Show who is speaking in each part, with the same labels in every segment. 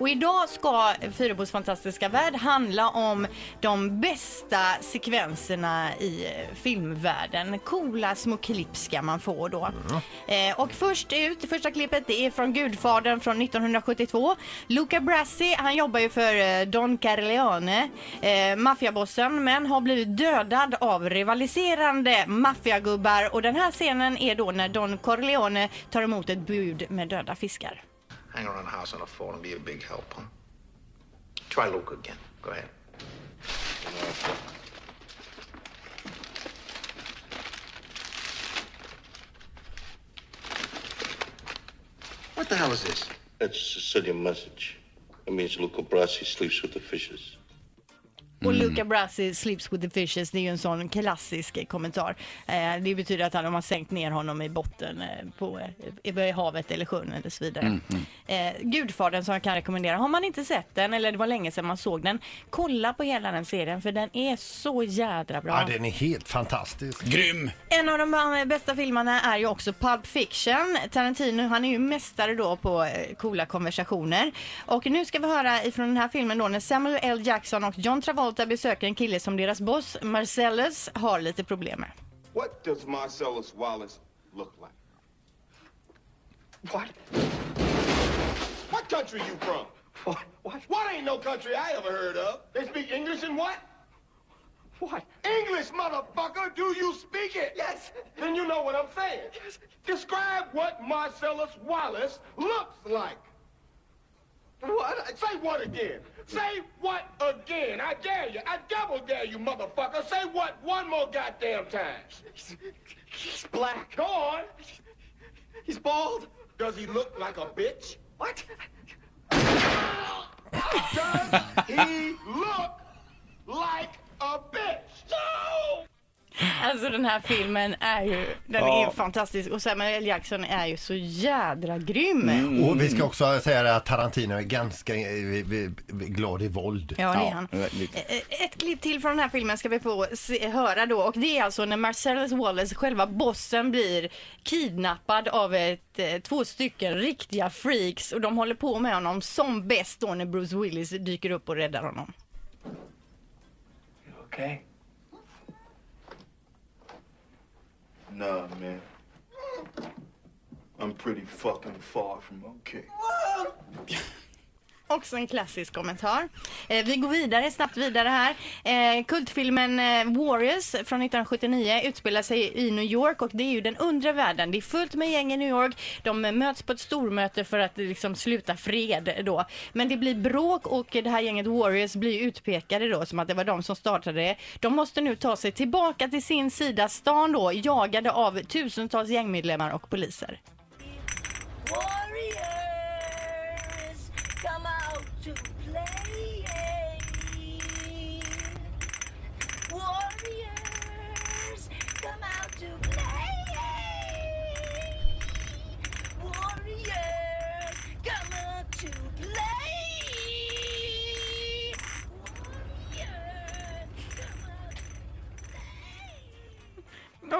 Speaker 1: Och idag ska Fyrebos fantastiska värld handla om de bästa sekvenserna i filmvärlden. Coola små klipp ska man få då. Eh, och först ut, det första klippet, det är från Gudfadern från 1972. Luca Brasi, han jobbar ju för eh, Don Corleone, eh, maffiabossen, men har blivit dödad av rivaliserande maffiagubbar. Och den här scenen är då när Don Corleone tar emot ett bud med döda fiskar.
Speaker 2: Hang around the house on the phone and be a big help, huh? Try Luca again. Go ahead. What the hell is this?
Speaker 3: That's Sicilian message. It means Luca Brasi sleeps with the fishes.
Speaker 1: Och Luca Brasi sleeps with the fishes, det är ju en sån klassisk kommentar. Eh, det betyder att han, de har sänkt ner honom i botten eh, på, i, i havet eller sjön eller så vidare. Eh, Gudfadern som jag kan rekommendera, har man inte sett den eller det var länge sedan man såg den, kolla på hela den serien för den är så jädra bra.
Speaker 4: Ja, den är helt fantastisk.
Speaker 5: Grym!
Speaker 1: En av de här bästa filmerna är ju också Pulp Fiction. Tarantino han är ju mästare då på eh, coola konversationer. Och nu ska vi höra ifrån den här filmen då när Samuel L. Jackson och John Travolta besöker en kille som deras boss Marcellus har lite problem med.
Speaker 6: What does Marcellus Wallace look like?
Speaker 2: What?
Speaker 6: What country you from?
Speaker 2: What? What?
Speaker 6: What ain't no country I ever heard of? They speak English and what?
Speaker 2: What?
Speaker 6: English, motherfucker! Do you speak it?
Speaker 2: Yes.
Speaker 6: Then you know what I'm saying.
Speaker 2: Yes.
Speaker 6: Describe what Marcellus Wallace looks like.
Speaker 2: What?
Speaker 6: Say what again? Say what again? I dare you. I double dare you, motherfucker. Say what one more goddamn time.
Speaker 2: He's, he's black.
Speaker 6: Go on.
Speaker 2: He's bald.
Speaker 6: Does he look like a bitch?
Speaker 2: What?
Speaker 6: Does he look like a bitch? No!
Speaker 1: Alltså den här filmen är ju, den är fantastisk och Samuel L. Jackson är ju så jädra grym.
Speaker 4: Och vi ska också säga det att Tarantino är ganska eh, vi- vi- vi- glad i våld.
Speaker 1: Ja, det är
Speaker 5: Ja,
Speaker 1: han.
Speaker 5: väldigt.
Speaker 1: Eh, Ett klipp till från den här filmen ska vi få se, höra då och det är alltså när Marcellus Wallace, själva bossen, blir kidnappad av ett, eh, två stycken riktiga freaks och de håller på med honom som bäst då när Bruce Willis dyker upp och räddar honom.
Speaker 3: Okay. Nah, man. I'm pretty fucking far from okay.
Speaker 1: Också en klassisk kommentar. Eh, vi går vidare, snabbt vidare här. Eh, kultfilmen eh, Warriors från 1979 utspelar sig i New York och det är ju den undre världen. Det är fullt med gäng i New York. De eh, möts på ett stormöte för att eh, liksom sluta fred då. Men det blir bråk och eh, det här gänget Warriors blir utpekade då som att det var de som startade det. De måste nu ta sig tillbaka till sin sida stan då, jagade av tusentals gängmedlemmar och poliser.
Speaker 7: Warriors, come out to play. Warriors, come out to play. Warriors, come out to play. Warriors, come out to play.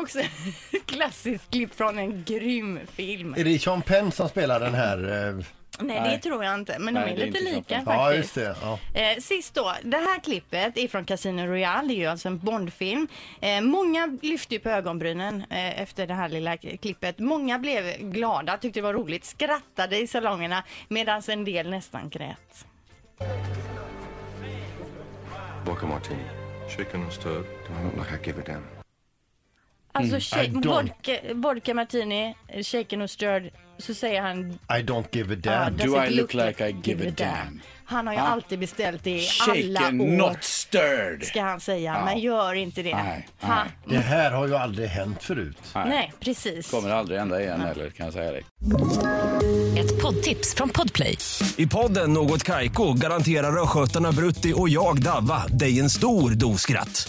Speaker 1: Också ett klassiskt klipp från en grym film.
Speaker 4: Är det Sean Penn som spelar den här? eh,
Speaker 1: Nej, det tror jag inte. Men
Speaker 5: Nej,
Speaker 1: de
Speaker 5: det är
Speaker 1: är lite
Speaker 5: inte så
Speaker 1: lika
Speaker 5: fint.
Speaker 1: faktiskt.
Speaker 4: Ja, just det. Ja.
Speaker 1: Eh, sist då, det här klippet är från Casino Royale, det är ju alltså en Bondfilm. Eh, många lyfte ju på ögonbrynen eh, efter det här lilla klippet. Många blev glada, tyckte det var roligt, skrattade i salongerna medan en del nästan grät.
Speaker 3: Vodka martini. Shaken and stirred. Do I look like I give a damn?
Speaker 1: Alltså shake,
Speaker 4: I don't-
Speaker 1: vodka, vodka martini, eh, shaken och stirred, så säger han
Speaker 4: I don't give a
Speaker 1: ah,
Speaker 4: damn.
Speaker 1: does
Speaker 5: Do
Speaker 1: it
Speaker 5: I look like I
Speaker 1: it-
Speaker 5: give a damn?
Speaker 1: Han har ju
Speaker 5: Ah.
Speaker 1: alltid beställt det i alla
Speaker 5: Shaken,
Speaker 1: år.
Speaker 5: not stirred.
Speaker 1: Ska han säga,
Speaker 5: Ja.
Speaker 1: men gör inte det.
Speaker 5: Nej,
Speaker 1: Ha.
Speaker 5: nej.
Speaker 4: Det här har ju aldrig hänt förut.
Speaker 1: Nej, precis.
Speaker 5: Kommer aldrig ända igen heller, kan jag säga dig.
Speaker 8: Ett poddtips från Podplay.
Speaker 9: I podden Något Kaiko garanterar östgötarna Brutti och jag, Davva, dig en stor dos skratt.